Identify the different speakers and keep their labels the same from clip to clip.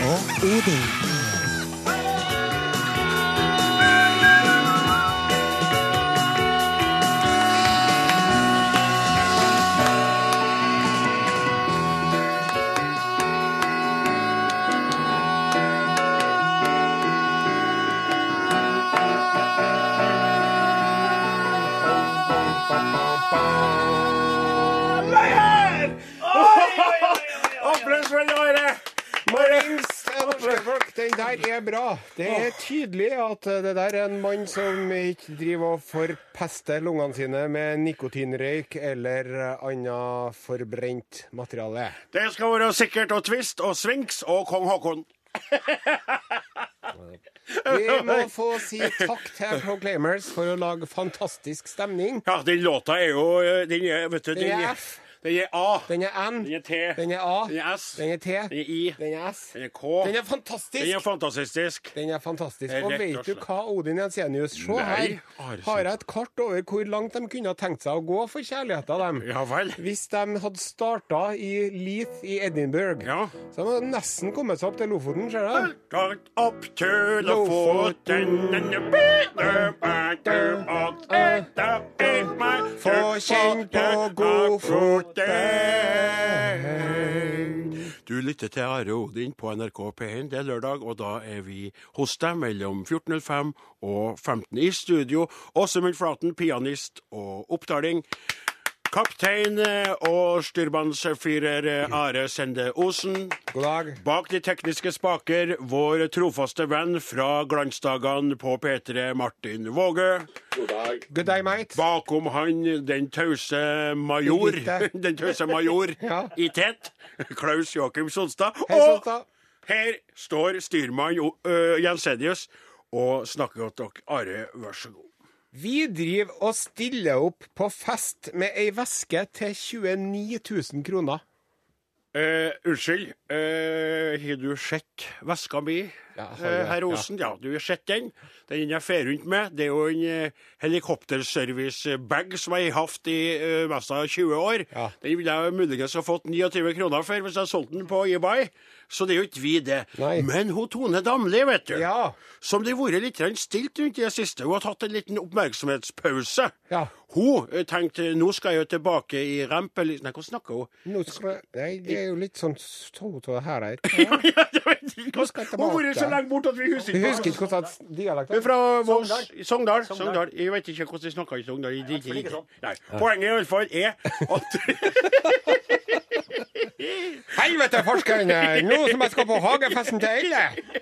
Speaker 1: og Odin.
Speaker 2: Applaus for Are!
Speaker 3: Sjøfolk, Den der er bra. Det er tydelig at eh, det der er en mann som ikke driver og forpester lungene sine med nikotinrøyk eller eh, annet forbrent materiale.
Speaker 2: Det skal være sikkert og twist og swings og kong Haakon.
Speaker 3: Vi må få si takk til Proclaimers for å lage fantastisk stemning.
Speaker 2: Ja, den låta er jo eh, Den er, vet du, den
Speaker 3: Den er
Speaker 2: er,
Speaker 3: F.
Speaker 2: den er A.
Speaker 3: Den er N,
Speaker 2: Den er T.
Speaker 3: den er A,
Speaker 2: Den er S.
Speaker 3: den er T,
Speaker 2: Den er I.
Speaker 3: den er S.
Speaker 2: Den er K.
Speaker 3: Den er fantastisk!
Speaker 2: Den er fantastisk.
Speaker 3: Den er fantastisk.
Speaker 2: Rett og
Speaker 3: Og vet du
Speaker 2: slett.
Speaker 3: hva, Odin Jensenius, se her.
Speaker 2: Nei, Are
Speaker 3: Har jeg et kart over hvor langt de kunne ha tenkt seg å gå for kjærligheten dem?
Speaker 2: Ja vel.
Speaker 3: Hvis de hadde starta i Leith i Edinburgh,
Speaker 2: Ja.
Speaker 3: så hadde de nesten kommet seg opp til Lofoten, ser du.
Speaker 2: Langt opp til Lofoten Denne byen er du og enda en meg
Speaker 3: Få kjenn på
Speaker 2: Godfoten. Du lytter til Are Odin på NRK P1. Det er lørdag, og da er vi hos deg mellom 14.05 og 15 i studio. Åsemund Flaten, pianist og oppdaling. Kaptein eh, og styrmannsfirer eh, Are Sende Osen.
Speaker 3: God dag.
Speaker 2: Bak de tekniske spaker, vår trofaste venn fra glansdagene på P3, Martin Våge.
Speaker 3: Good day, mate.
Speaker 2: Bakom han den tause major,
Speaker 3: Birgitte.
Speaker 2: den tause major
Speaker 3: Ja.
Speaker 2: i tett, Klaus Joakim Sonstad.
Speaker 3: Hei,
Speaker 2: Og
Speaker 3: Sonstad.
Speaker 2: her står styrmann O- ø, Jensenius og snakker til dere. Are, vær så god.
Speaker 3: Vi driver og stiller opp på fest med ei veske til 29 000 kroner.
Speaker 2: Eh, unnskyld, eh, har du sett veska mi,
Speaker 3: Ja, har du
Speaker 2: eh,
Speaker 3: det?
Speaker 2: herr
Speaker 3: Ja.
Speaker 2: Osen? Ja. du har sett den. Den jeg fer rundt med, det er jo en eh, helikopterservice-bag som jeg har hatt i eh, mest av 20 år.
Speaker 3: Ja.
Speaker 2: Den ville jeg muligens ha fått 29 kroner for hvis jeg solgte den på eBay, så det er jo ikke vi det.
Speaker 3: Nei.
Speaker 2: Men hun Tone Damli, vet du,
Speaker 3: Ja.
Speaker 2: som det har vært litt grann stilt rundt i det siste, hun har tatt en liten oppmerksomhetspause.
Speaker 3: Ja.
Speaker 2: Hun eh, tenkte nå skal jeg jo tilbake i rempel... Nei, hvordan snakker hun?
Speaker 3: Nå skal jeg... Nei, det er jo litt sånn ståtå her. her.
Speaker 2: ja, det vet jeg ikke.
Speaker 3: skal jeg
Speaker 2: Hun har
Speaker 3: tilbake.
Speaker 2: vært så lenge borte at vi husker
Speaker 3: Vi
Speaker 2: ikke.
Speaker 3: husker ikke hvordan dialekt
Speaker 2: Det er Fra Voss
Speaker 3: Sogndal.
Speaker 2: Sogndal. Sogndal. Jeg vet ikke hvordan de snakker i Sogndal. Jeg driter i det. Nei. Poenget i alle fall er at
Speaker 3: Helvete, forskeren! Nå som jeg skal på hagefesten til Elle!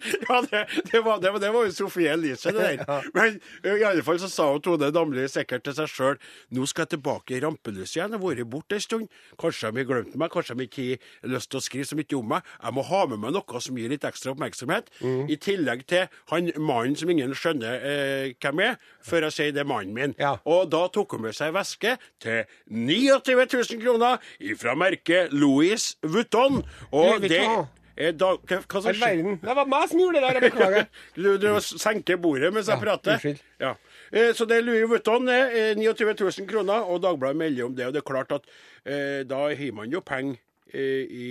Speaker 2: ja, det, det, var, det, var, det var jo Sofie Elise, det der. Men ø, i alle fall så sa hun Tone Damli sikkert til seg sjøl nå skal jeg tilbake i rampelyset igjen. Jeg har vært borte ei stund. Kanskje de har glemt meg, kanskje de ikke har lyst til å skrive så mye om meg. Jeg må ha med meg noe som gir litt ekstra oppmerksomhet.
Speaker 3: Mm.
Speaker 2: I tillegg til han mannen som ingen skjønner eh, hvem er, før jeg sier det er mannen min.
Speaker 3: Ja.
Speaker 2: Og da tok hun med seg væske til 29 000 kroner fra merket Louis Vuitton. Og
Speaker 3: Louis
Speaker 2: det
Speaker 3: Vuitton.
Speaker 2: er da, hva, hva som
Speaker 3: All verden. Det var meg som gjorde det der, jeg beklager.
Speaker 2: du, du senker bordet mens jeg
Speaker 3: Ja,
Speaker 2: prater.
Speaker 3: unnskyld.
Speaker 2: Ja. Eh, Så det er Louis Vuitton, eh, 29 000 kroner, og Dagbladet melder om det. Og det er klart at eh, da har man jo penger eh, i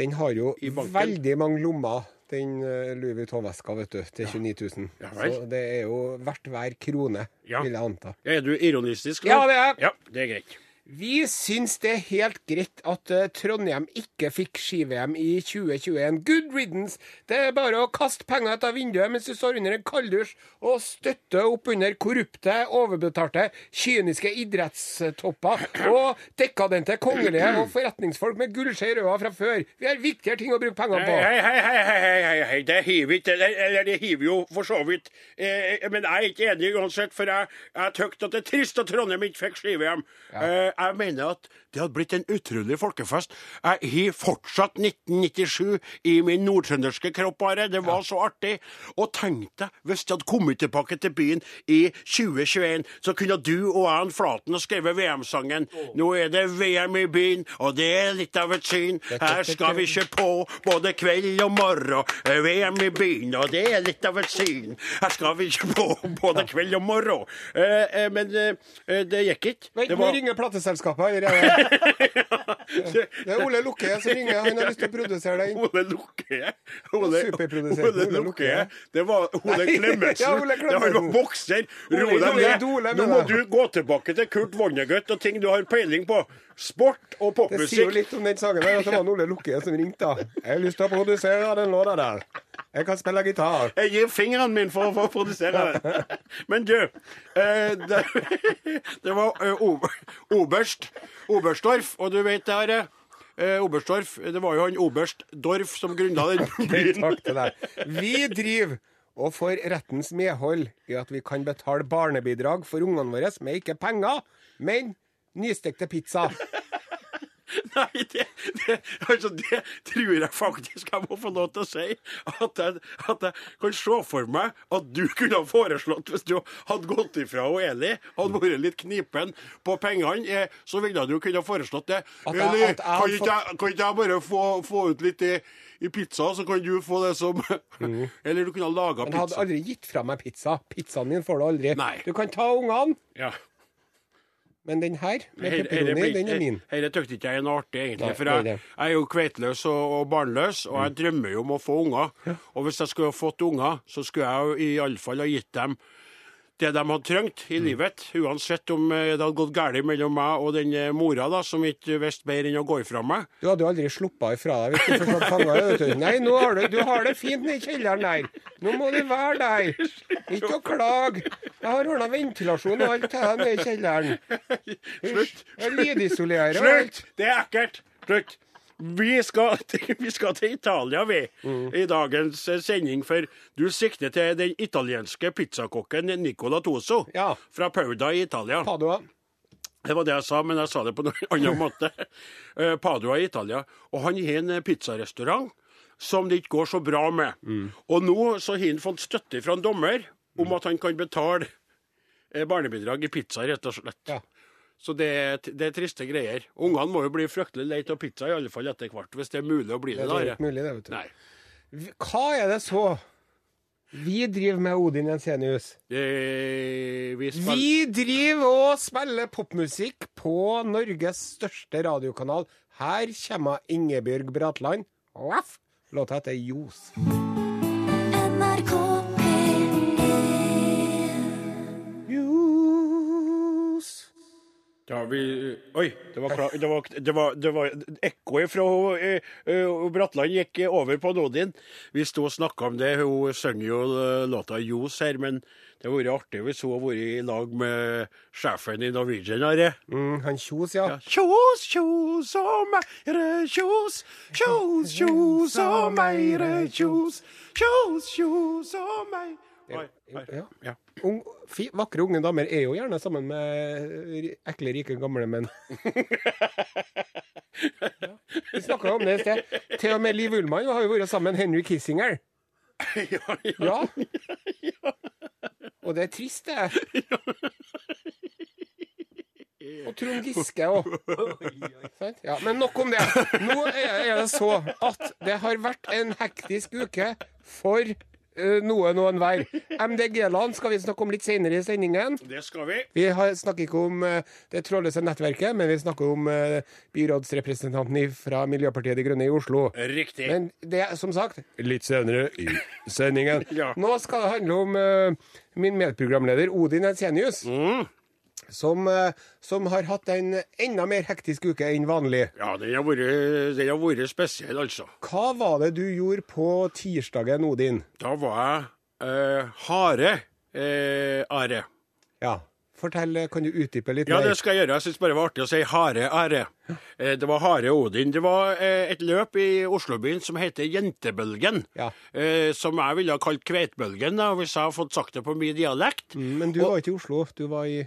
Speaker 3: Den har jo
Speaker 2: I banken.
Speaker 3: veldig mange lommer, den eh, Louis Vuitton-veska, vet du, til 29 000.
Speaker 2: Ja vel.
Speaker 3: Så det er jo verdt hver krone,
Speaker 2: Ja.
Speaker 3: vil jeg anta.
Speaker 2: Er du ironistisk?
Speaker 3: Ja, det er jeg.
Speaker 2: Ja, det er greit.
Speaker 3: Vi syns det er helt greit at eh, Trondheim ikke fikk ski-VM i 2021. Good riddance! Det er bare å kaste penger ut av vinduet mens du står under en kalddusj, og støtte opp under korrupte, overbetalte, kyniske idrettstopper og dekadente kongelige og forretningsfolk med gullskje i røda fra før. Vi har viktigere ting å bruke penger på.
Speaker 2: Hei, hei, hei, hei, hei, hei, hei. det hiver ikke, eller, eller det hiver jo for så vidt. Eh, men jeg er ikke enig uansett, for jeg, jeg tykt at det er trist at Trondheim ikke fikk ski-VM. Eh, jeg mener at det hadde blitt en utrolig folkefest. Jeg har fortsatt 1997 i min nordtrønderske kropp, bare. Det var så artig. Og tenk deg, hvis de hadde kommet tilbake til byen i 2021, så kunne du og jeg, Flaten, ha skrevet VM-sangen. Nå er det VM i byen, og det er litt av et syn. Her skal vi kjøre på både kveld og morgen. VM i byen, og det er litt av et syn. Her skal vi kjøre på både kveld og morgen. Eh, eh, men eh, eh, det gikk ikke. Det
Speaker 3: Vent, nå
Speaker 2: var-
Speaker 3: ringer plateselskapet allerede.
Speaker 2: Så-
Speaker 3: Det er Ole Lukke som ringer. Han har lyst til å produsere deg inn.
Speaker 2: Ole Lukke. Ole,
Speaker 3: Superprodusent
Speaker 2: Ole
Speaker 3: Ole
Speaker 2: Lukke.
Speaker 3: Lukke.
Speaker 2: Det var Ole
Speaker 3: Nei,
Speaker 2: Klemetsen.
Speaker 3: ja, Ole
Speaker 2: Det var
Speaker 3: Klemetsen.
Speaker 2: bokser. Ro
Speaker 3: Ole
Speaker 2: deg ned.
Speaker 3: Idole,
Speaker 2: Nå
Speaker 3: mener
Speaker 2: må du
Speaker 3: jeg.
Speaker 2: gå tilbake til Kurt Vonnegut og ting du har peiling på. Sport og
Speaker 3: Det sier jo
Speaker 2: popmusikk.
Speaker 3: litt om den sangen der, at det var en Ole Lukke som ringte. da. 'Jeg har lyst til å produsere den låta der. Jeg kan spille gitar.'
Speaker 2: Jeg gir fingeren min for, for å produsere det. Men du eh, det, det var eh, Ober- Oberst Oberstdorf, og du vet det her eh, Oberstdorf, det var jo han Oberst Dorf som grunna den byen.
Speaker 3: Takk til deg. Vi driver og får rettens medhold i at vi kan betale barnebidrag for ungene våre med ikke penger, men nystekte pizza.
Speaker 2: Nei, det, det, altså, det tror jeg faktisk jeg må få lov til å si. At jeg, at jeg kan se for meg at du kunne ha foreslått, hvis du hadde gått ifra og Eli, hadde vært litt knipen på pengene, eh, så ville du kunne ha foreslått det.
Speaker 3: At jeg-
Speaker 2: Eli,
Speaker 3: at jeg
Speaker 2: kan
Speaker 3: hadde
Speaker 2: ikke jeg, kan ikke jeg bare få, få ut litt i, i pizza, så kan du få det som Eller du kunne ha laga
Speaker 3: Mm. Men jeg hadde
Speaker 2: pizza.
Speaker 3: aldri gitt fra meg pizza. Pizzaen min får du aldri.
Speaker 2: Nei.
Speaker 3: Du kan ta ungene,
Speaker 2: Ja.
Speaker 3: men den her med
Speaker 2: Her- herre
Speaker 3: pepperoni,
Speaker 2: blir-
Speaker 3: den er min.
Speaker 2: Herre tykte ikke jeg er noe artig, egentlig.
Speaker 3: Nei,
Speaker 2: For
Speaker 3: det er
Speaker 2: jeg,
Speaker 3: det.
Speaker 2: jeg er jo kveitløs og, og barnløs, og jeg drømmer jo om å få unger. Og hvis jeg skulle ha fått unger, så skulle jeg jo iallfall ha gitt dem det de hadde trengt
Speaker 3: Mm.
Speaker 2: i livet, uansett om eh, det hadde gått galt mellom meg og den eh, mora, da, som ikke visste bedre enn å gå ifra meg.
Speaker 3: Du hadde jo aldri sluppa ifra deg hvis du fortsatt fanga det. vet du. Nei, nå har du, du har det fint nede i kjelleren der. Nå må du være der. Ikke å klage. Jeg har ordna ventilasjon og alt til deg nede i kjelleren.
Speaker 2: Slutt!
Speaker 3: Jeg lydisolerer. og alt.
Speaker 2: Slutt! Det er ekkelt. Slutt. Vi skal, til, vi skal til Italia, vi, i dagens eh, sending. For du sikter til den italienske pizzakokken Nicola Toso
Speaker 3: Ja.
Speaker 2: fra Pauda i Italia.
Speaker 3: Padua.
Speaker 2: Det var det jeg sa, men jeg sa det på en annen måte. Eh, Padua i Italia. Og han har en eh, pizzarestaurant som det ikke går så bra med.
Speaker 3: Mm.
Speaker 2: Og nå så har han fått støtte fra en dommer om at han kan betale eh, barnebidrag i pizza, rett og slett.
Speaker 3: Ja.
Speaker 2: Så det, er t- det er triste greier. Ungene må jo bli fryktelig lei av pizza, i alle fall etter hvert. Hvis det er mulig å bli det,
Speaker 3: Det er
Speaker 2: da.
Speaker 3: ikke mulig, det, vet du.
Speaker 2: Nei.
Speaker 3: Hva er det så vi driver med, Odin Jensenius?
Speaker 2: Eh, vi spiller
Speaker 3: Vi driver og spiller popmusikk på Norges største radiokanal. Her kommer Ingebjørg Bratland. Laff! Låta heter Ljos.
Speaker 1: NRK P1
Speaker 3: Ljos.
Speaker 2: Da har vi eh, Oi, det var, klar, det var, det var, det var ekkoet fra eh, eh, Bratland gikk eh, over på Nodin. Vi sto og snakka om det. Hun synger jo eh, låta 'Ljos' her, men det hadde vært artig hvis hun hadde vært i lag med sjefen i Norwegian. Are.
Speaker 3: Mm, han Kjos, ja.
Speaker 2: Kjos, kjos og meire, kjos. Kjos, kjos og meire, kjos. Kjos, kjos og meire
Speaker 3: ja.
Speaker 2: ja.
Speaker 3: Ung, fi, vakre unge damer er jo gjerne sammen med ri- ekle, rike, gamle menn. Ja, Vi snakka om det i sted. Til og med Liv Ullmann har jo vært sammen med Henry Kissinger.
Speaker 2: ja, ja.
Speaker 3: Ja. Og det er trist, det. Og Trond Giske òg. Ja, men nok om det. Nå er er det så at det har vært en hektisk uke for eh, noen og enhver. MDG-land skal vi snakke om litt senere i sendingen.
Speaker 2: Det skal vi.
Speaker 3: Vi har, snakker ikke om eh, det trådløse nettverket, men vi snakker om eh, byrådsrepresentanten i- fra Miljøpartiet De Grønne i Oslo.
Speaker 2: Riktig.
Speaker 3: Men det er som sagt Eh, litt senere i sendingen.
Speaker 2: Ja.
Speaker 3: Nå skal det handle om eh, min medprogramleder Odin Ensenius,
Speaker 2: Mm.
Speaker 3: som, eh, som har hatt en enda mer hektisk uke enn vanlig.
Speaker 2: Ja, den har vært, den har vært spesiell, altså.
Speaker 3: Hva var det du gjorde på tirsdagen, Odin?
Speaker 2: Da var jeg eh, hare. Eh, are.
Speaker 3: Ja, Fortell, eh, kan du utdype litt?
Speaker 2: Ja,
Speaker 3: mer?
Speaker 2: det skal jeg gjøre. Jeg syns bare det var artig å si hare, are. Eh, det var hare Odin. Det var eh, et løp i Oslobyen som heter Jentebølgen.
Speaker 3: Ja.
Speaker 2: Eh, som jeg ville ha kalt Kveitbølgen, da, hvis jeg hadde fått sagt det på min dialekt.
Speaker 3: Mm, Men du var ikke i Oslo, du var i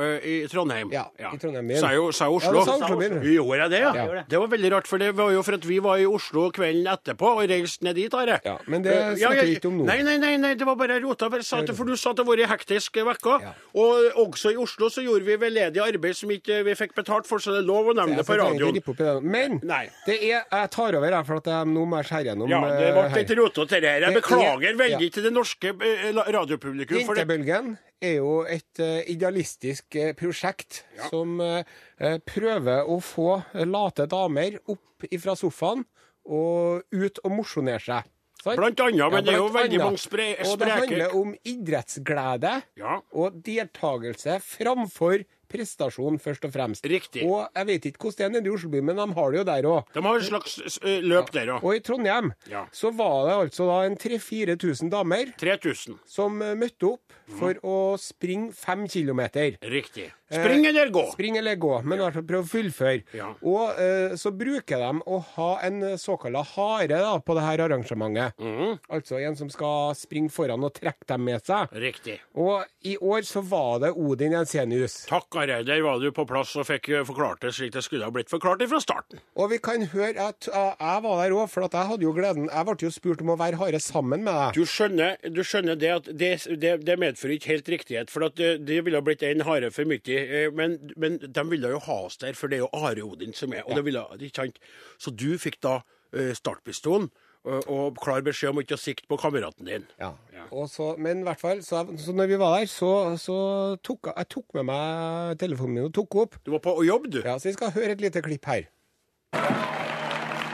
Speaker 2: Eh, I Trondheim.
Speaker 3: Ja, i Trondheim igjen.
Speaker 2: Sa jeg, jo- sa jeg Oslo?
Speaker 3: Ja, du sa Oslo, mener du?
Speaker 2: Gjorde jeg det, ja?
Speaker 3: Ja.
Speaker 2: Det var veldig rart, for det var jo for at vi var i Oslo kvelden etterpå og reiste ned dit, Are.
Speaker 3: Ja, men det
Speaker 2: Eh, ja,
Speaker 3: snakker vi
Speaker 2: jeg-
Speaker 3: ikke om nå.
Speaker 2: Nei, nei, nei, nei det var bare jeg rota. For, jeg sa at- for du sa at det har vært ei hektisk uke.
Speaker 3: Ja.
Speaker 2: Og også i Oslo så gjorde vi veldedig arbeid som ikke vi fikk betalt for, så det er lov å nevne
Speaker 3: Jeg
Speaker 2: det på
Speaker 3: skal egentlig
Speaker 2: radioen.
Speaker 3: rippe opp i det. Men
Speaker 2: Nei.
Speaker 3: det er, jeg tar over, jeg, for at jeg, nå må jeg skjære gjennom.
Speaker 2: Ja, det
Speaker 3: eh,
Speaker 2: ble
Speaker 3: her.
Speaker 2: litt rotete, det her. Jeg
Speaker 3: Det er-
Speaker 2: beklager
Speaker 3: ja.
Speaker 2: veldig til det norske eh, la- eh, radiopublikum. For det,
Speaker 3: Jentebølgen er jo et eh, idealistisk eh, prosjekt
Speaker 2: Ja.
Speaker 3: som eh, eh, prøver å få late damer opp ifra sofaen og ut og mosjonere seg. Sant?
Speaker 2: Blant annet, men det er jo
Speaker 3: blant
Speaker 2: veldig
Speaker 3: annet.
Speaker 2: mange spre-
Speaker 3: Og det
Speaker 2: spreke-
Speaker 3: handler om idrettsglede
Speaker 2: Ja.
Speaker 3: og deltakelse framfor prestasjon, først og fremst.
Speaker 2: Riktig.
Speaker 3: Og jeg vet ikke hvordan det er nede i Oslobyen, men de har det jo der òg.
Speaker 2: De har et slags eh, løp der òg.
Speaker 3: Og i Trondheim
Speaker 2: Ja.
Speaker 3: så var det altså da en 3000-4000 damer
Speaker 2: 3000.
Speaker 3: som eh, møtte opp for å springe fem kilometer.
Speaker 2: Riktig. Spring eller gå.
Speaker 3: Eh, Spring eller gå, men i hvert fall prøve å fullføre.
Speaker 2: Ja.
Speaker 3: Og eh, så bruker de å ha en eh, såkalla hare da, på det her arrangementet.
Speaker 2: Mhm.
Speaker 3: Altså en som skal springe foran og trekke dem med seg.
Speaker 2: Riktig.
Speaker 3: Og i år så var det Odin Jensenius.
Speaker 2: Takk, Are. Der var du på plass og fikk eh, forklart det slik det skulle ha blitt forklart fra starten.
Speaker 3: Og vi kan høre at ja, jeg var der òg, for at jeg hadde jo gleden Jeg ble jo spurt om å være hare sammen med deg.
Speaker 2: Du skjønner, du skjønner det at det, det, det medfører ikke helt riktighet, for at eh, det ville ha blitt en hare for mye. eh, Men, men de ville jo ha oss der, for det er jo Are Odin som er og det ville, ikke sant? Så du fikk da eh, startpistolen og, og klar beskjed om ikke å sikte på kameraten din.
Speaker 3: Ja.
Speaker 2: Ja.
Speaker 3: Og så, men i hvert fall, så, jeg- så når vi var der, så, så tok jeg, jeg tok med meg telefonen min og tok opp.
Speaker 2: Du var på jobb, du.
Speaker 3: Ja, Så vi skal høre et lite klipp her.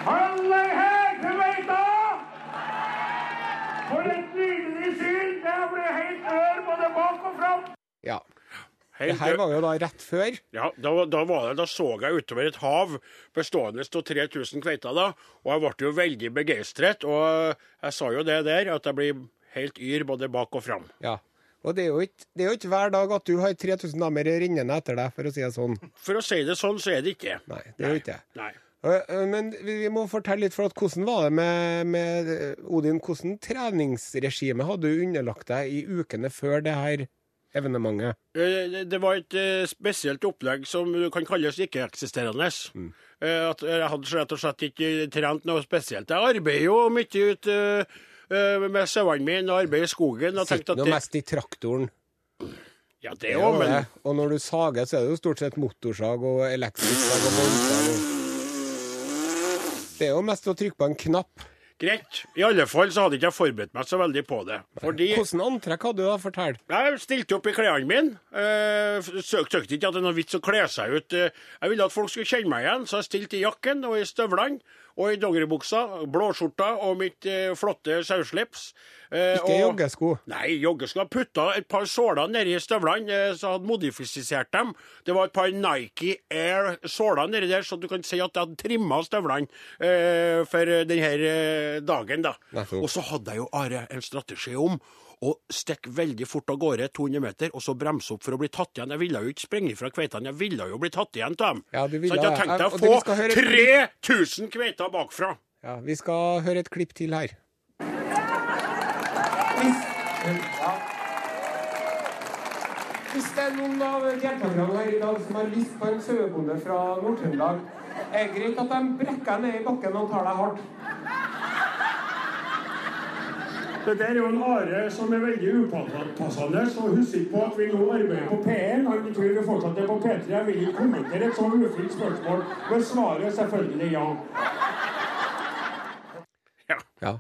Speaker 4: Alle her til Veita! For et nydelig syn! Jeg ble helt ør både bak og fram.
Speaker 3: Ja.
Speaker 2: Hei,
Speaker 3: Det her
Speaker 2: du-
Speaker 3: var jo da rett før.
Speaker 2: Ja, da, var- da, var det, da så jeg utover et hav bestående av 3000 kveiter, da, og jeg ble jo veldig begeistret. Og jeg sa jo det der, at jeg blir helt yr både bak og fram.
Speaker 3: Ja. Og det er, jo ikke, det er jo ikke hver dag at du har 3000 damer rennende etter deg, for å si det sånn.
Speaker 2: For å si det sånn, så er det ikke.
Speaker 3: Nei, det er jo ikke det.
Speaker 2: Nei.
Speaker 3: Ø, ø, Men vi vi må fortelle litt, for at hvordan var det med, med ø, Odin? Hvordan treningsregime hadde du underlagt deg i ukene før det her evenementet?
Speaker 2: Eh, det- Det var et eh, spesielt opplegg som kan kalles ikke-eksisterende.
Speaker 3: Mm.
Speaker 2: Eh, At jeg hadde rett og slett ikke trent noe spesielt. Jeg arbeider jo mye ut eh, eh, med sauene mine og arbeider i skogen. Og tenkte
Speaker 3: Sitter
Speaker 2: at
Speaker 3: nå
Speaker 2: det,
Speaker 3: mest i traktoren.
Speaker 2: ja, det
Speaker 3: Ja,
Speaker 2: òg, men
Speaker 3: det. Og når du sager, så er det jo stort sett motorsag og elektrisk sag og båndsag. og- Det er jo mest å trykke på en knapp.
Speaker 2: greit. I alle fall så hadde ikke jeg forberedt meg så veldig på det. Fordi
Speaker 3: Hvordan antrekk hadde du da? Fortell.
Speaker 2: Jeg stilte opp i klærne mine. Eh, søk, søkte ikke at det er noe vits å kle seg ut. Eh, jeg ville at folk skulle kjenne meg igjen, så jeg stilte i jakken og i støvlene. Og i dongeribuksa, blåskjorta og mitt eh, flotte saueslips. Eh,
Speaker 3: Ikke joggesko.
Speaker 2: Nei, joggesko. Jeg Putta et par såler nedi støvlene, eh, så jeg hadde modifisert dem. Det var et par Nike Air-såler nedi der, så du kan si at jeg hadde trimma støvlene eh, for denne eh, dagen, da.
Speaker 3: Nettopp.
Speaker 2: Og så hadde jeg jo, Are, en strategi om å stikke veldig fort av gårde 200 meter, og så bremse opp for å bli tatt igjen. Jeg ville jo ikke springe fra kveitene, jeg ville jo bli tatt igjen av dem.
Speaker 3: Ja, du ville
Speaker 2: så jeg
Speaker 3: det.
Speaker 2: tenkte
Speaker 3: Jeg-
Speaker 2: jeg
Speaker 3: og
Speaker 2: å
Speaker 3: du skal høre et
Speaker 2: få 3000 kveiter bakfra.
Speaker 3: Ja, vi skal høre et klipp til her.
Speaker 5: Hvis, ja. Hvis det er noen av deltakerne her i dag som har lyst på en sauebonde fra Nord-Trøndelag, er det greit at de brekker deg ned i bakken og tar deg hardt.
Speaker 4: Det der er jo en are som er veldig upassende, så husk ikke på at vi nå arbeider på P1. Han tror vi fortsatt er på P3. Jeg vil ikke kommentere et så ufint spørsmål, men svaret er selvfølgelig ja.
Speaker 3: Ja.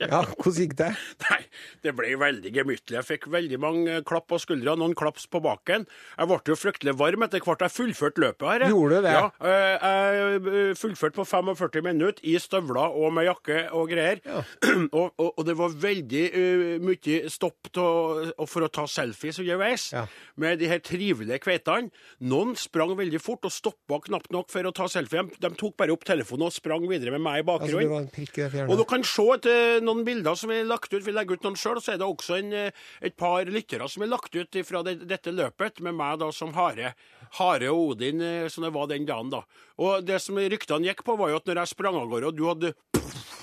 Speaker 3: ja, hvordan gikk det?
Speaker 2: Nei, det ble veldig gemyttlig. Jeg fikk veldig mange klapp på skuldra, noen klaps på baken. Jeg ble jo fryktelig varm etter hvert. Jeg fullførte løpet her. jeg.
Speaker 3: Gjorde du det?
Speaker 2: Ja, eh, jeg eh, fullførte på 45 minutter i støvler og med jakke og greier. og, og, og det var veldig eh, mye stopp til å- og for å ta selfies underveis
Speaker 3: Ja.
Speaker 2: med de her trivelige kveitene. Noen sprang veldig fort og stoppa knapt nok for å ta selfie. De tok bare opp telefonen og sprang videre med meg i
Speaker 3: Altså,
Speaker 2: bakgrunnen.
Speaker 3: det var en prikk i det
Speaker 2: Og du
Speaker 3: fjernet.
Speaker 2: kan se etter noen bilder som er lagt ut. Vi legger ut noen sjøl. Så er det også en, eh, et par lyttere som er lagt ut fra det, dette løpet, med meg da som hare. Hare og Odin, eh, som det var den dagen, da. Og det som ryktene gikk på, var jo at når jeg sprang av gårde, og du hadde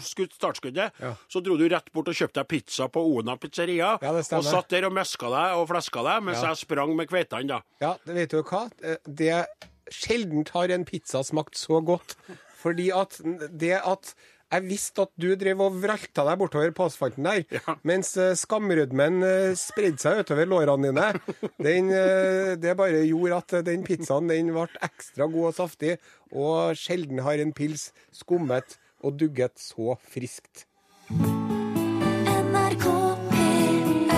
Speaker 2: skutt startskuddet, så dro du rett bort og kjøpte deg pizza på Ona pizzeria.
Speaker 3: Ja, det stemmer.
Speaker 2: og satt der og meska deg og fleska deg mens jeg sprang med kveitene, da.
Speaker 3: Ja, det vet du hva? Det sjelden har en pizza smakt så godt. Fordi at det at jeg visste at du drev og vralta deg bortover på asfalten der,
Speaker 2: Ja.
Speaker 3: mens eh, skamrødmen eh, spredde seg utover lårene dine. Den, eh, det bare gjorde at den pizzaen den ble ekstra god og saftig, og sjelden har en pils skummet og dugget så friskt.
Speaker 1: NRK P1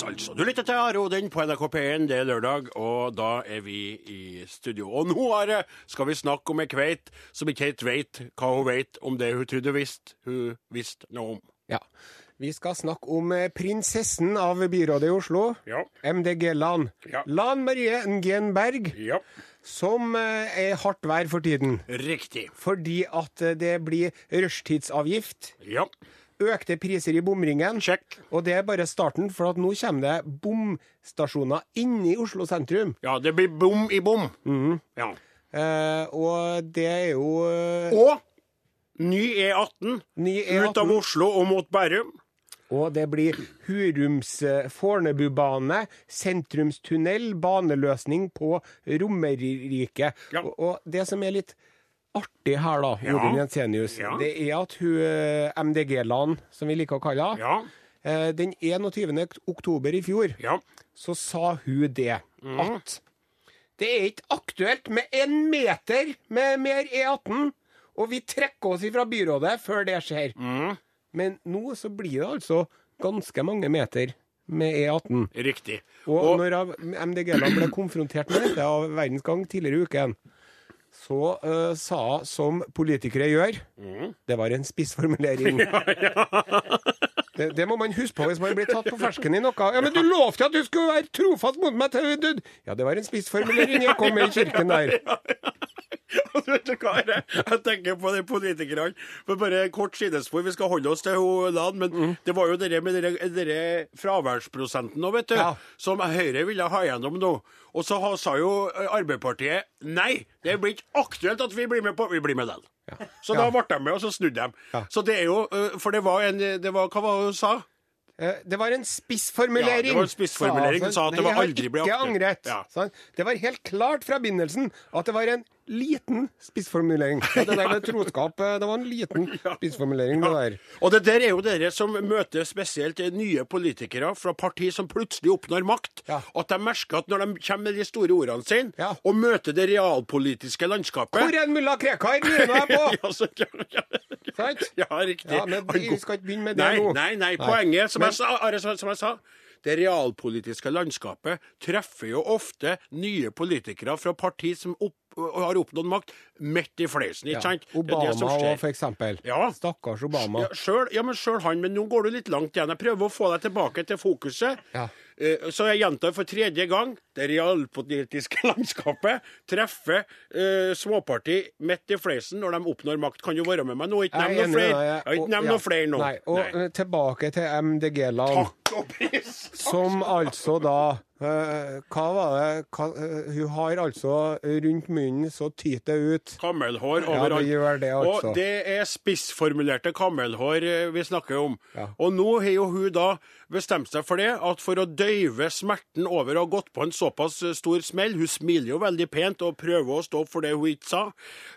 Speaker 2: altså. Du lytter til Are Odin på NRK P1, det er lørdag, og da er vi i studio. Og nå, Are, skal vi snakke om ei kveit som ikke helt veit hva hun veit om det hun trodde hun visste hun visste noe om.
Speaker 3: Ja. Vi skal snakke om eh, prinsessen av byrådet i Oslo,
Speaker 2: Ja.
Speaker 3: MDG-Lan.
Speaker 2: Ja.
Speaker 3: Lan Marie Nguyen Berg,
Speaker 2: Ja,
Speaker 3: som eh, er hardt vær for tiden.
Speaker 2: riktig.
Speaker 3: Fordi at eh, det blir rushtidsavgift,
Speaker 2: Ja,
Speaker 3: økte priser i bomringen.
Speaker 2: sjekk.
Speaker 3: Og det er bare starten, for at nå kommer det bomstasjoner inni Oslo sentrum.
Speaker 2: Ja, det blir bom i bom.
Speaker 3: Mhm.
Speaker 2: Ja.
Speaker 3: Eh, og det er jo eh,
Speaker 2: Og ny E18
Speaker 3: ny
Speaker 2: ut av
Speaker 3: E18,
Speaker 2: Oslo og mot Bærum.
Speaker 3: og det blir Hurums-Fornebubane, sentrumstunnel, baneløsning på Romerike.
Speaker 2: Ja.
Speaker 3: Og, og det som er litt artig her, da, Jorunn Jensenius,
Speaker 2: Ja.
Speaker 3: det er at hun eh, MDG-Lan, som vi liker å kalle henne,
Speaker 2: Ja,
Speaker 3: eh, den 21. oktober i fjor
Speaker 2: ja.
Speaker 3: så sa hun det at det er ikke aktuelt med en meter med mer E18, og vi trekker oss ifra byrådet før det skjer. Men nå så blir det altså ganske mange meter med E18.
Speaker 2: Riktig.
Speaker 3: Og, når av- MDG-ene ble konfrontert med dette av Verdens Gang tidligere i uken, så eh, sa hun som politikere gjør Det var en spissformulering. det, det må man huske på hvis man blir tatt på fersken i noe. Ja, men du lovte at du skulle være trofast mot meg til du døde! Ja, det var en spissformulering. Jeg kom med i kirken der.
Speaker 2: Og vet du hva, Are? Jeg tenker på de politikerne. For bare en kort sidespor, vi skal holde oss til hun Lan, men
Speaker 3: Mm.
Speaker 2: det var jo det der med den fraværsprosenten nå, vet du,
Speaker 3: Ja.
Speaker 2: som Høyre ville ha gjennom nå. Og så ha- sa jo Arbeiderpartiet nei, det blir ikke aktuelt at vi blir med på Vi blir med den. Så da
Speaker 3: Ja.
Speaker 2: ble de med, og så snudde de.
Speaker 3: Ja.
Speaker 2: Så det er jo eh, For det var en det var, Hva var det hun sa?
Speaker 3: Eh, Det var en spissformulering.
Speaker 2: Ja, det var en spissformulering.
Speaker 3: hun.
Speaker 2: Hun sa at det var
Speaker 3: Nei, jeg har
Speaker 2: aldri ble
Speaker 3: ikke
Speaker 2: aktuelt.
Speaker 3: angret.
Speaker 2: Ja.
Speaker 3: sa han. Det var helt klart fra begynnelsen at det var en liten spissformulering. At Det der med troskap, eh, det var en liten spissformulering, det der.
Speaker 2: Og det der er jo dere som møter spesielt nye politikere fra partier som plutselig oppnår makt.
Speaker 3: Ja.
Speaker 2: At de merker at når de kommer med de store ordene sine,
Speaker 3: Ja.
Speaker 2: og møter det realpolitiske landskapet
Speaker 3: Hvor er en mulla Krekar? Lurer jeg på!
Speaker 2: ja, så, ja,
Speaker 3: Sant?
Speaker 2: ja, riktig.
Speaker 3: Ja, men vi skal ikke begynne med det
Speaker 2: nei,
Speaker 3: nå.
Speaker 2: Nei, nei.
Speaker 3: Nei.
Speaker 2: Poenget, som, jeg sa, Are, som, som jeg sa det realpolitiske landskapet treffer jo ofte nye politikere fra partier som opp, har oppnådd makt, midt i fleisen.
Speaker 3: Ja.
Speaker 2: ikke sant? Det er det som
Speaker 3: Obama
Speaker 2: skjer.
Speaker 3: òg, for eksempel.
Speaker 2: Ja.
Speaker 3: Stakkars Obama.
Speaker 2: Ja, selv, ja, men sjøl han. Men nå går du litt langt igjen. Jeg prøver å få deg tilbake til fokuset.
Speaker 3: Ja.
Speaker 2: Eh, Så jeg gjentar for tredje gang. Det realpolitiske landskapet treffer eh, småparti midt i fleisen når de oppnår makt. Kan du være med meg nå? Ikke
Speaker 3: Jeg er
Speaker 2: nevn noe
Speaker 3: enig med
Speaker 2: flere.
Speaker 3: deg, jeg-
Speaker 2: Ja,
Speaker 3: og-
Speaker 2: Ikke nevn
Speaker 3: ja.
Speaker 2: noe flere nå.
Speaker 3: Nei, og
Speaker 2: Nei.
Speaker 3: eh, tilbake til MDG-land.
Speaker 2: Takk og pris.
Speaker 3: Som altså da eh, Hva var det hva, eh, Hun har altså rundt munnen så tyter det ut.
Speaker 2: Kammelhår
Speaker 3: Ja,
Speaker 2: overalt.
Speaker 3: det gjør det, altså.
Speaker 2: Og det er spissformulerte kammelhår eh, vi snakker om.
Speaker 3: Ja.
Speaker 2: Og nå har jo hun da bestemt seg for det, at for å døyve smerten over å ha gått på en såpass eh, stor smell Hun smiler jo veldig pent og prøver å stå opp for det hun ikke sa.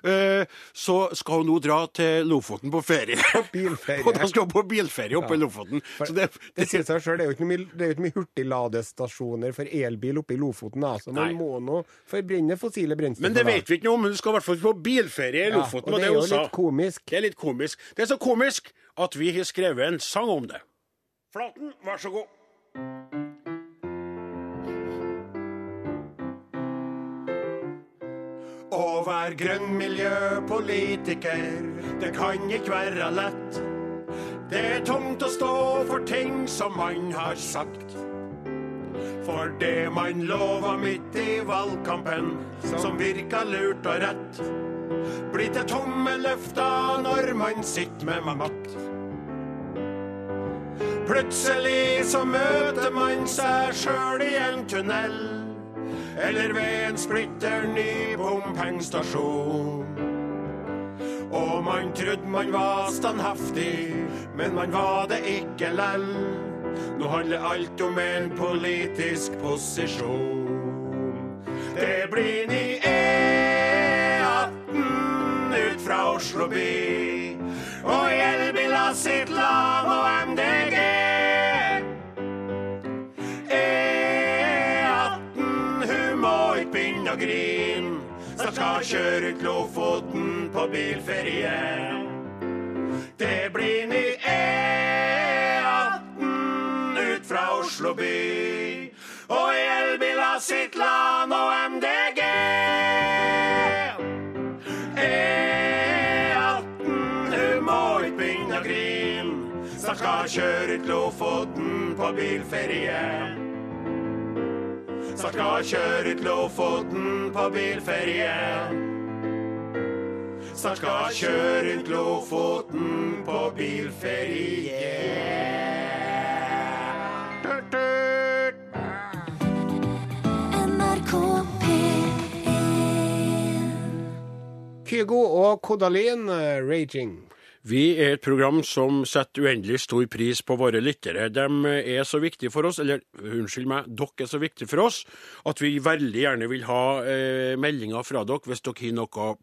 Speaker 2: eh, Så skal hun nå dra til Lofoten på ferie.
Speaker 3: bilferie.
Speaker 2: og da skal hun på bilferie oppe i Lofoten. Så det,
Speaker 3: Det sier seg selv, det er jo ikke mye, det er jo ikke mye hurtigladestasjoner for elbil oppe i Lofoten, da, så man
Speaker 2: Nei.
Speaker 3: må nå forbrenne fossile brensler.
Speaker 2: men det vet vi ikke noe om. Hun skal i hvert fall på bilferie i Lofoten.
Speaker 3: og det er
Speaker 2: hun
Speaker 3: jo
Speaker 2: sa.
Speaker 3: litt komisk.
Speaker 2: Det er litt komisk. Det er så komisk at vi har skrevet en sang om det. Flaten, vær så god. Å være grønn miljøpolitiker, det kan ikke være lett. Det er tungt å stå for ting som man har sagt. For det man lova midt i valgkampen, som virka lurt og rett blir til tomme løfter når man sitter med makt. Plutselig så møter man seg sjøl i en tunnel, eller ved en splitter ny bompengestasjon. Og man trodde man var standhaftig, men man var det ikke lell. Nå handler alt om en politisk posisjon. Det blir ny E18 ut fra Oslo by. Og elbiler sitt lag og MDG. E E18, hun må ikke begynne å grine. Snart skal kjøre ut Lofoten på bilferie. E Det blir ny E18 ut fra Oslo by.
Speaker 6: Og i elbiler sitt LAN og MDG. E18, hun må ikke begynne å grine. Snart skal hun kjøre ut Lofoten på bilferie. Snart skal hun kjøre ut Lofoten på bilferie. Snart skal hun kjøre rundt Lofoten på bilferie. Tut, tut.
Speaker 1: NRK P1
Speaker 3: Kygo og Kodalin, eh, 'Raging'.
Speaker 2: Vi er et program som setter uendelig stor pris på våre lyttere. De er så viktige for oss, eller unnskyld meg, dere er så viktige for oss, at vi veldig gjerne vil ha eh, meldinger fra dere hvis dere har noe på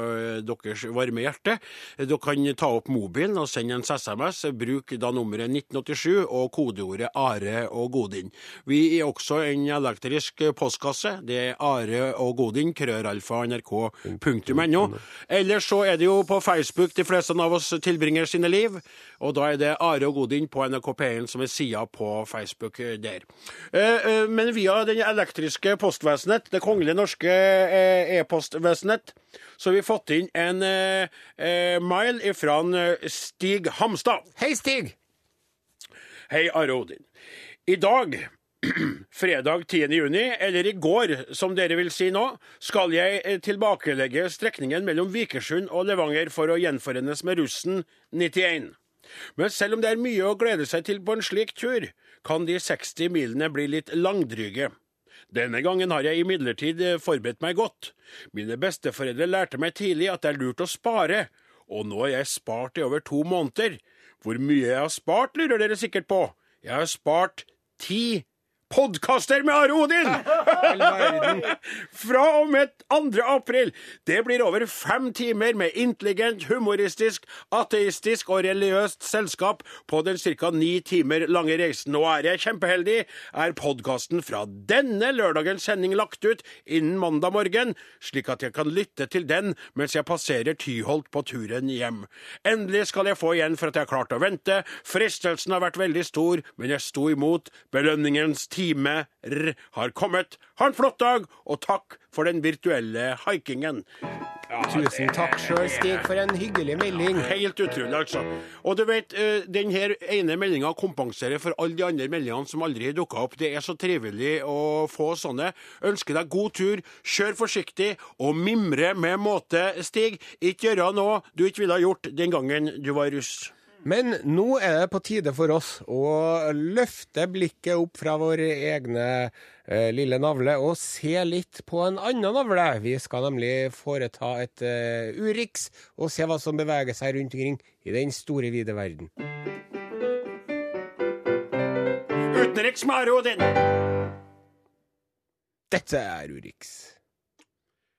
Speaker 2: eh, deres varme hjerte. Dere kan ta opp mobilen og sende en SMS. Bruk da nummeret 1987 og kodeordet Are og Godin. Vi er også en elektrisk postkasse. Det er Are og Godin, krøralfa nrk.no. Ellers så er det jo på Facebook de fleste av oss tilbringer sine liv, og da er det Are og Godin på NRK P1 som er sida på Facebook eh, der. Eh, eh, Men via den elektriske postvesenet, det kongelige norske eh, e-postvesenet, så har vi fått inn en eh, eh, mile fra eh, Stig Hamstad.
Speaker 3: Hei, Stig!
Speaker 2: Hei, Are Odin. I dag, fredag 10. juni, eller i går, som dere vil si nå, skal jeg eh, tilbakelegge strekningen mellom Vikersund og Levanger for å gjenforenes med russen 91. Men selv om det er mye å glede seg til på en slik tur, kan de 60 milene bli litt langdryge. Denne gangen har jeg imidlertid eh, forberedt meg godt. Mine besteforeldre lærte meg tidlig at det er lurt å spare, og nå har jeg spart i over to måneder. Hvor mye jeg har spart, lurer dere sikkert på. Jeg har spart ti podkaster med Are Odin! Fra og med 2. april. Det blir over fem timer med intelligent, humoristisk, ateistisk og religiøst selskap på den ca. ni timer lange reisen. Nå er jeg kjempeheldig, er podkasten fra denne lørdagens sending lagt ut innen mandag morgen, slik at jeg kan lytte til den mens jeg passerer Tyholt på turen hjem. Endelig skal jeg få igjen for at jeg har klart å vente. Fristelsen har vært veldig stor, men jeg sto imot. Belønningens time r har kommet. Ha en flott dag, og takk for den virtuelle haikingen. Ja,
Speaker 3: Tusen takk sjøl, Stig, for en hyggelig melding.
Speaker 2: Helt utrolig, altså. Og du vet, eh, den her ene meldinga kompenserer for alle de andre meldingene som aldri dukka opp. Det er så trivelig å få sånne. Ønsker deg god tur, kjør forsiktig, og mimre med måte, Stig. Ikke gjøre noe du ikke ville ha gjort den gangen du var russ.
Speaker 3: Men nå er det på tide for oss å løfte blikket opp fra våre egne eh, lille navle og se litt på en annen navle. Vi skal nemlig foreta et eh, Urix og se hva som beveger seg rundt omkring i den store, vide verden.
Speaker 2: Utenriks med Are Odin.
Speaker 3: Dette er Urix.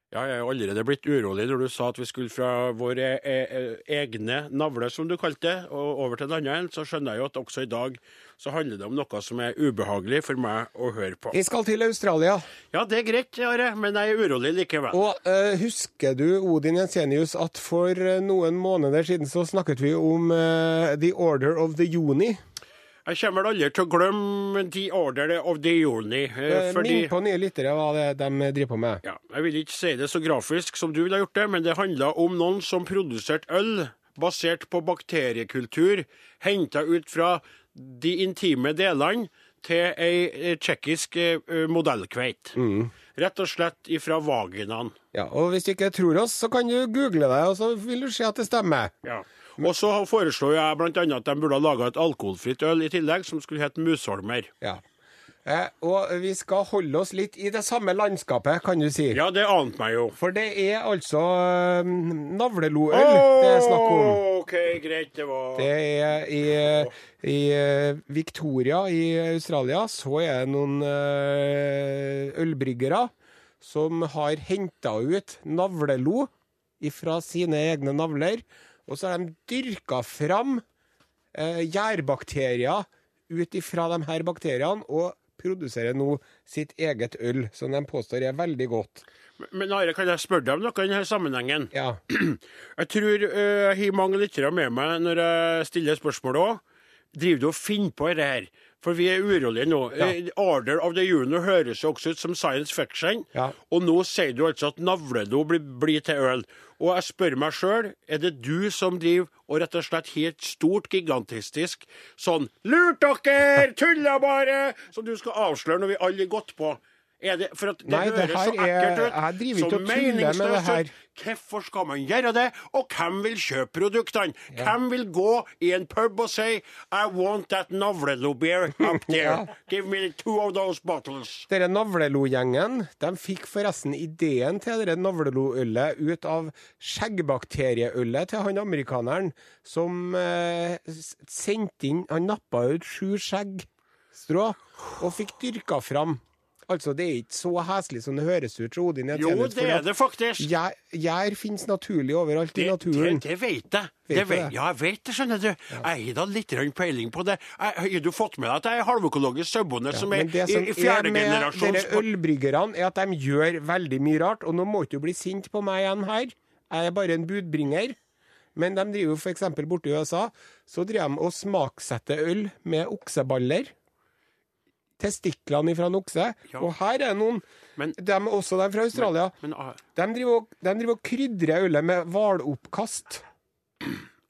Speaker 2: Ja, jeg er jo allerede blitt urolig når du sa at vi skulle fra våre eh, eh, egne navler, som du kalte det, og over til en annen en. Så skjønner jeg jo at også i dag så handler det om noe som er ubehagelig for meg å høre på.
Speaker 3: Vi skal til Australia.
Speaker 2: Ja, det er greit, Are, men jeg er urolig likevel.
Speaker 3: Og eh, husker du, Odin Jensenius, at for eh, noen måneder siden så snakket vi om eh, The Order of the Juni?
Speaker 2: Jeg kommer vel aldri til å glemme The Order of the Journey, eh,
Speaker 3: Eh,
Speaker 2: fordi
Speaker 3: Minn på nye lyttere hva det er de driver på med.
Speaker 2: ja, Jeg vil ikke si det så grafisk som du ville ha gjort det, men det handla om noen som produserte øl basert på bakteriekultur henta ut fra de intime delene til ei eh, tsjekkisk eh, modellkveit.
Speaker 3: Mm.
Speaker 2: Rett og slett ifra vaginaen.
Speaker 3: Ja, og hvis du ikke tror oss, så kan du google deg, og så vil du se at det stemmer.
Speaker 2: Ja. Og så foreslo jeg bl.a. at de burde ha laga et alkoholfritt øl i tillegg, som skulle hete Musholmer.
Speaker 3: Ja. Eh, og vi skal holde oss litt i det samme landskapet, kan du si.
Speaker 2: Ja, det ante meg jo.
Speaker 3: For det er altså eh, navleloøl det er snakk om.
Speaker 2: OK, greit, det var
Speaker 3: Det er i, i eh, Victoria i Australia så er det noen eh, ølbryggere som har henta ut navlelo fra sine egne navler, og så har de dyrka fram eh, gjærbakterier ut ifra de her bakteriene og produserer nå sitt eget øl, som de påstår er veldig godt.
Speaker 2: Men Are, kan jeg spørre deg om noe i denne sammenhengen?
Speaker 3: Ja.
Speaker 2: Jeg tror eh, jeg har mange lyttere med meg når jeg stiller spørsmål òg. Driver du og finner på det her? For vi er urolige nå. Eh, Order of the Juno høres jo også ut som science fiction.
Speaker 3: Ja.
Speaker 2: Og nå sier du altså at navledo blir, blir til øl. Og jeg spør meg sjøl, er det du som driver og rett og slett har et stort, gigantistisk sånn 'Lurt dere! Tulla bare!' som du skal avsløre når vi alle er gått på? Er det, for at det
Speaker 3: Nei, det
Speaker 2: høres så
Speaker 3: her er-
Speaker 2: ekkelt ut.
Speaker 3: jeg driver ikke
Speaker 2: så
Speaker 3: og tuller med det
Speaker 2: meningsløst ut.
Speaker 3: her.
Speaker 2: Hvorfor skal man gjøre det, og hvem vil kjøpe produktene? Hvem vil gå i en pub og si I want that navlelo beer up there. Give me two of those bottles.
Speaker 3: Dere Navlelo-gjengen de fikk forresten ideen til dere Navlelo-ølet ut av skjeggbakterieølet til han amerikaneren som eh, s- sendte inn Han nappa ut sju skjeggstrå og fikk dyrka fram. Altså, det er ikke så heslig som det høres ut fra Odin.
Speaker 2: Jo, det er det faktisk.
Speaker 3: Gjær, gjær finnes naturlig overalt
Speaker 2: Det,
Speaker 3: i
Speaker 2: det,
Speaker 3: naturen.
Speaker 2: det vet jeg. Det
Speaker 3: Vet du
Speaker 2: vet,
Speaker 3: det?
Speaker 2: ja, jeg vet det, skjønner du. Jeg har da litt grann peiling på det. Jeg, har du fått med deg at jeg er halvøkologisk sauebonde som er
Speaker 3: Men det
Speaker 2: i,
Speaker 3: som
Speaker 2: i
Speaker 3: er
Speaker 2: fjerde
Speaker 3: med
Speaker 2: generasjons
Speaker 3: dere ølbryggerne, er at de gjør veldig mye rart. Og nå må ikke du bli sint på meg igjen her. Jeg er bare en budbringer. Men de driver jo f.eks. borte i USA, så driver de og smaksetter øl med okseballer. Testiklene fra en okse.
Speaker 2: Ja.
Speaker 3: Og her er noen.
Speaker 2: Men-
Speaker 3: de, også de fra Australia.
Speaker 2: Men, ah,
Speaker 3: de, driver og, de driver og krydrer ølet med hvaloppkast.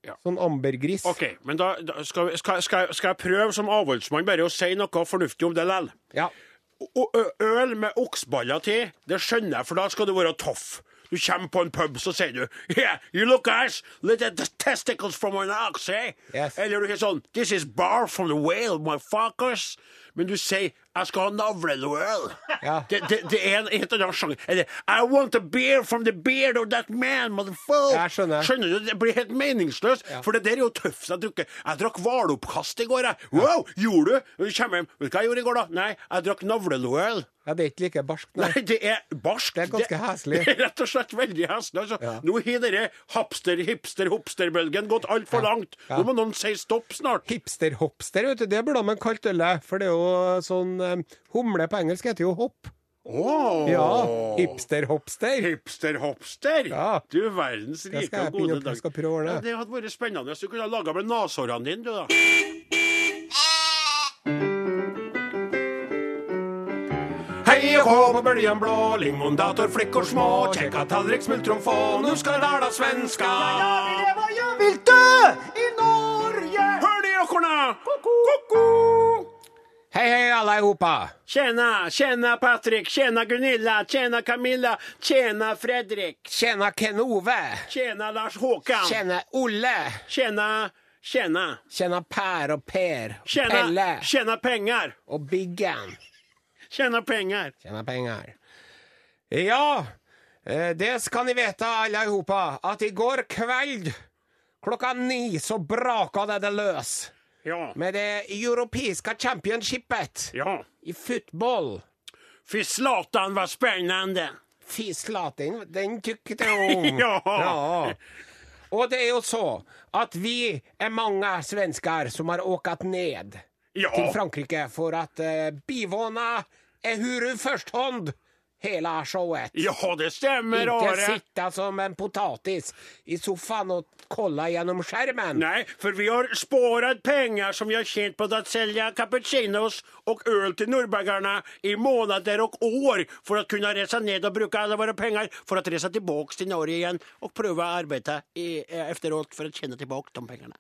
Speaker 2: Ja.
Speaker 3: Sånn ambergris.
Speaker 2: OK, men da, da skal, vi- skal, skal, skal jeg prøve som avholdsmann bare å si noe fornuftig om det likevel.
Speaker 3: Ja.
Speaker 2: Og ø- øl med oksballer til, det skjønner jeg, for da skal du være tøff. Du kommer på en pub, så sier du Yeah, you look guys, let the testicles from an ox, eh?
Speaker 3: Yes.
Speaker 2: Eller du sier sånn This is bar from the whale, motherfuckers. Men du sier jeg skal ha navleøl.
Speaker 3: Ja.
Speaker 2: Det, det, det er en helt annen sjanger. Eller I want a beer from the beard of that man, motherfucker.
Speaker 3: Jeg skjønner.
Speaker 2: Skjønner du, Det blir helt meningsløst, for det der er jo tøft jeg drukker. Jeg drakk hvaloppkast i går, jeg. Wow, gjorde du? Når du kommer hjem, vet du hva jeg gjorde i går, da? Nei, jeg drakk navleloøl.
Speaker 3: ja, det er ikke like barskt, nei.
Speaker 2: Nei, det er barskt.
Speaker 3: Det er ganske heslig.
Speaker 2: Det er rett og slett veldig heslig. Altså.
Speaker 3: Ja.
Speaker 2: Nå har denne hapster-hipster-hopster-bølgen gått altfor langt.
Speaker 3: Ja.
Speaker 2: Nå må noen si stopp snart.
Speaker 3: Hipster-hopster, vet du. Det burde man kalt ølet. For det er jo sånn eh, Humle på engelsk heter jo hopp.
Speaker 2: Åh,
Speaker 3: Ja. Hipster-hopster.
Speaker 2: Hipster-hopster!
Speaker 3: Ja.
Speaker 2: Du verdens
Speaker 3: Det
Speaker 2: rike
Speaker 3: skal jeg
Speaker 2: og gode
Speaker 3: begynne å
Speaker 2: dag.
Speaker 3: skal prøve å
Speaker 2: Ja,
Speaker 3: ordne.
Speaker 2: det hadde vært spennende. Du kunne ha laga med neshårene dine, du, da. Hei og hå på bøljan blå, limondator, flickor små, kjekka tallrik, smultron få, nu skal dala svenska.
Speaker 7: leva, jag vill dö i Norge!
Speaker 2: Hør de åkorna! Ko-ko!
Speaker 3: Hei, hei, alle i hopa.
Speaker 2: Tjena, tjena Patrik, tjena Gunilla, tjena Camilla, tjena Fredrik,
Speaker 3: Tjena Ken Ove.
Speaker 2: tjena Lars Håkan,
Speaker 3: Tjena Olle.
Speaker 2: tjena, tjena,
Speaker 3: Tjena Per og Per. Og Pelle.
Speaker 2: tjena, tjena pengar,
Speaker 3: Og Biggen.
Speaker 2: tjena pengar.
Speaker 3: Tjena penger. Ja, eh, det skal ni veta alle ihopa, at igår kveld klokka ni så brakade det lös
Speaker 2: Ja,
Speaker 3: med det europeiska championshipet
Speaker 2: ja.
Speaker 3: i fotboll.
Speaker 2: Fy Zlatan var spännande!
Speaker 3: Fy slaten, den tyckte jag om.
Speaker 2: Ja.
Speaker 3: ja. Och det är ju så att vi är många svenskar som har åkat ned till
Speaker 2: Ja,
Speaker 3: Frankrike för att eh, bivåna ehuru försthånd hela showet.
Speaker 2: ja det stämmer
Speaker 3: Inte
Speaker 2: Are.
Speaker 3: sitta som en potatis i soffan och kolla genom skärmen.
Speaker 2: Nej, för vi har sparat pengar som vi har tjänat på att sälja cappuccinos och öl till norrbaggarna i månader och år för att kunna resa ned och bruka alla våra pengar för att resa tillbaks till Norge igen och pröva arbeta i, eh, efteråt för att tjäna tillbaka de pengarna.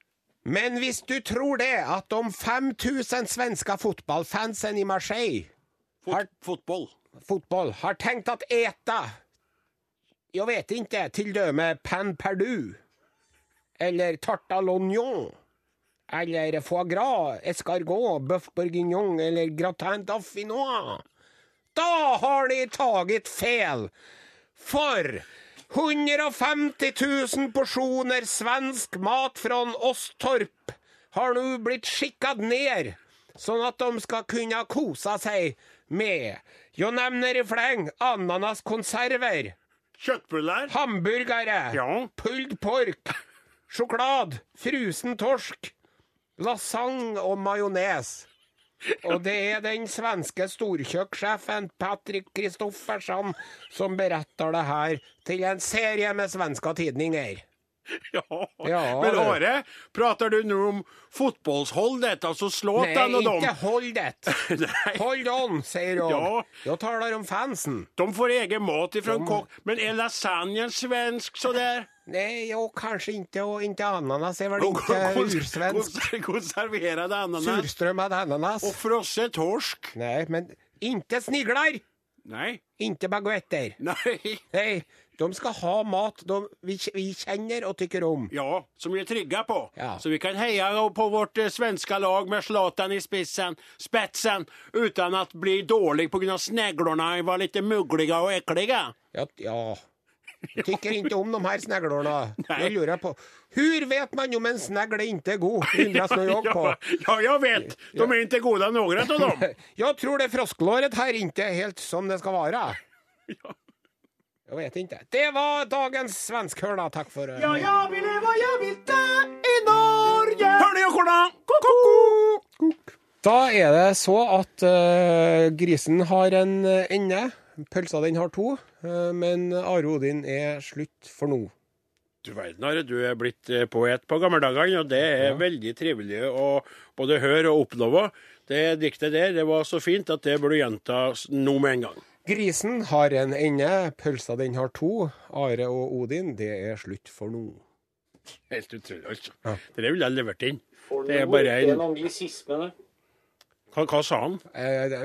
Speaker 3: Men hvis du tror det, at de 5000 svenske fotballfansen i Marseille
Speaker 2: Fot,
Speaker 3: Har-
Speaker 2: Fotboll.
Speaker 3: fotboll har tenkt at eta Jeg vet ikke, til døme pan perdu eller tarte à l'oignon eller foie gras, escargot, bøff bourguignon eller gratin dauphinois Da har de taget feil! For 150 000 porsjoner svensk mat fra Åstorp har nå blitt skikket ned, sånn at de skal kunne kose seg med Jeg nevner i fleng ananaskonserver,
Speaker 2: Köttbullar.
Speaker 3: hamburgere,
Speaker 2: Ja.
Speaker 3: pulled pork, sjokolade, frusen torsk, lasagne og majones. Og det er den svenske storkjøkkensjefen Patrick Kristoffersen som beretter det her til en serie med svenske tidninger.
Speaker 2: Ja.
Speaker 3: Ja,
Speaker 2: Men
Speaker 3: du.
Speaker 2: Are, prater du nå om fotbollsholdet? Altså slå
Speaker 3: Nei,
Speaker 2: den og dem?
Speaker 3: ikke hold det!
Speaker 2: Nei.
Speaker 3: Hold on, sier hun.
Speaker 2: Ja.
Speaker 3: Da taler om fansen.
Speaker 2: De får egen mat ifra en kokk. Men er lasagnen svensk, så der?
Speaker 3: Nei, jo, kanskje ikke, og ikke ananas er vel ikke ursvensk.
Speaker 2: Konservere det ananas?
Speaker 3: Surstrøm av ananas.
Speaker 2: Og frosset torsk?
Speaker 3: Nei, men ikke snigler!
Speaker 2: Nei.
Speaker 3: Ikke baguetter.
Speaker 2: Nei.
Speaker 3: Nei, de skal ha mat de, vi, vi kjenner og tykker om.
Speaker 2: Ja, som vi är trygga på.
Speaker 3: Ja.
Speaker 2: Så vi kan heja på vårt eh, svenska lag med Zlatan i spetsen, spetsen utan att bli dålig på grund av snägglorna var lite muggliga och äckliga.
Speaker 3: Ja, ja. Jeg tykker ikke om de her sneglorna.
Speaker 2: Nei.
Speaker 3: Nå lurer jeg på Hur vet man om en snegle ikke er god? Undres nå jeg på.
Speaker 2: ja, jag vet. De är inte goda några av dem.
Speaker 3: Jeg tror det froskelåret her ikke er helt som det skal være.
Speaker 2: Ja.
Speaker 3: Jeg vet ikke. Det var dagens svenskhøl, da. Takk for eh,
Speaker 7: Ja, jeg vil leve, og jeg vil dø i Norge.
Speaker 2: Hörni och korna!
Speaker 3: Da er det så at eh, grisen har en eh, ende, pølsa den har to, eh, men Are Odin er slutt for nå.
Speaker 2: Du verden, Are, du er blitt eh, poet på gammeldagene, og det er veldig trivelig å både høre og oppleve. Det diktet der det var så fint at det burde gjentas nå med en gang.
Speaker 3: Grisen har en ende, pølsa den har to. Are og Odin, det er slutt for nå.
Speaker 2: Helt utrolig, altså.
Speaker 3: Ja.
Speaker 2: Det der ville jeg levert inn. Det er bare en Hva, hva sa han? Å
Speaker 3: Eh, det-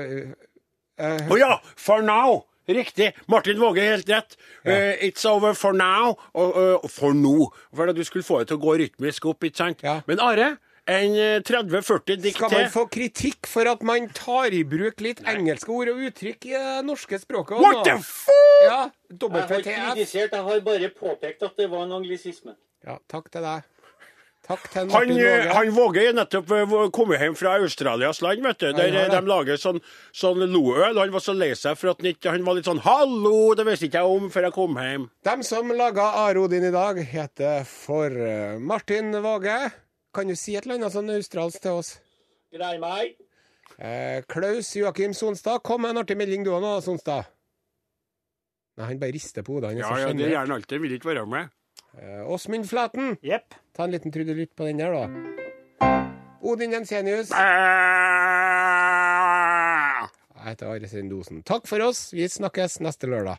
Speaker 3: eh,
Speaker 2: ja! For now! Riktig. Martin Våge, helt rett. Eh, it's over for now. Og, og- for nå. For at du skulle få det til å gå rytmisk opp, ikke sant?
Speaker 3: Ja.
Speaker 2: Men Are, en eh, 30-40 dikt
Speaker 3: skal man
Speaker 2: til.
Speaker 3: få kritikk for at man tar i bruk litt engelske ord og uttrykk i det norske språket?
Speaker 2: What the f...
Speaker 3: Ja,
Speaker 8: Jeg har ikke
Speaker 3: WTF.
Speaker 8: kritisert, jeg har bare påpekt at det var en anglisisme.
Speaker 3: Ja, takk til deg. Takk til
Speaker 2: Han,
Speaker 3: Martin
Speaker 2: eh,
Speaker 3: Våge.
Speaker 2: han Våge er nettopp eh, vå- kommet hjem fra Australias land, vet du. Der
Speaker 3: har
Speaker 2: eh, de
Speaker 3: det.
Speaker 2: lager sånn, sånn loøl. Han var så lei seg for at han ikke Han var litt sånn 'Hallo, det visste ikke jeg om før jeg kom hjem'.
Speaker 3: Dem som laga Arodin i dag, heter for eh, Martin Våge. Kan du si et eller annet sånn australsk til oss?
Speaker 8: Grei meg.
Speaker 3: Eh, Klaus Joakim Sonstad, kom med en artig melding du òg nå, Sonstad. Nei, han bare rister på hodet. Han er
Speaker 2: Ja,
Speaker 3: så
Speaker 2: ja, det
Speaker 3: sjenert.
Speaker 2: gjør han alltid. Vil ikke være med.
Speaker 3: Eh, Åsmund Flaten,
Speaker 8: Jepp.
Speaker 3: ta en liten trudelutt på den der, da. Odin Jensenius.
Speaker 2: Ah!
Speaker 3: Eh. Jeg heter Are Sendosen. Takk for oss. Vi snakkes neste lørdag.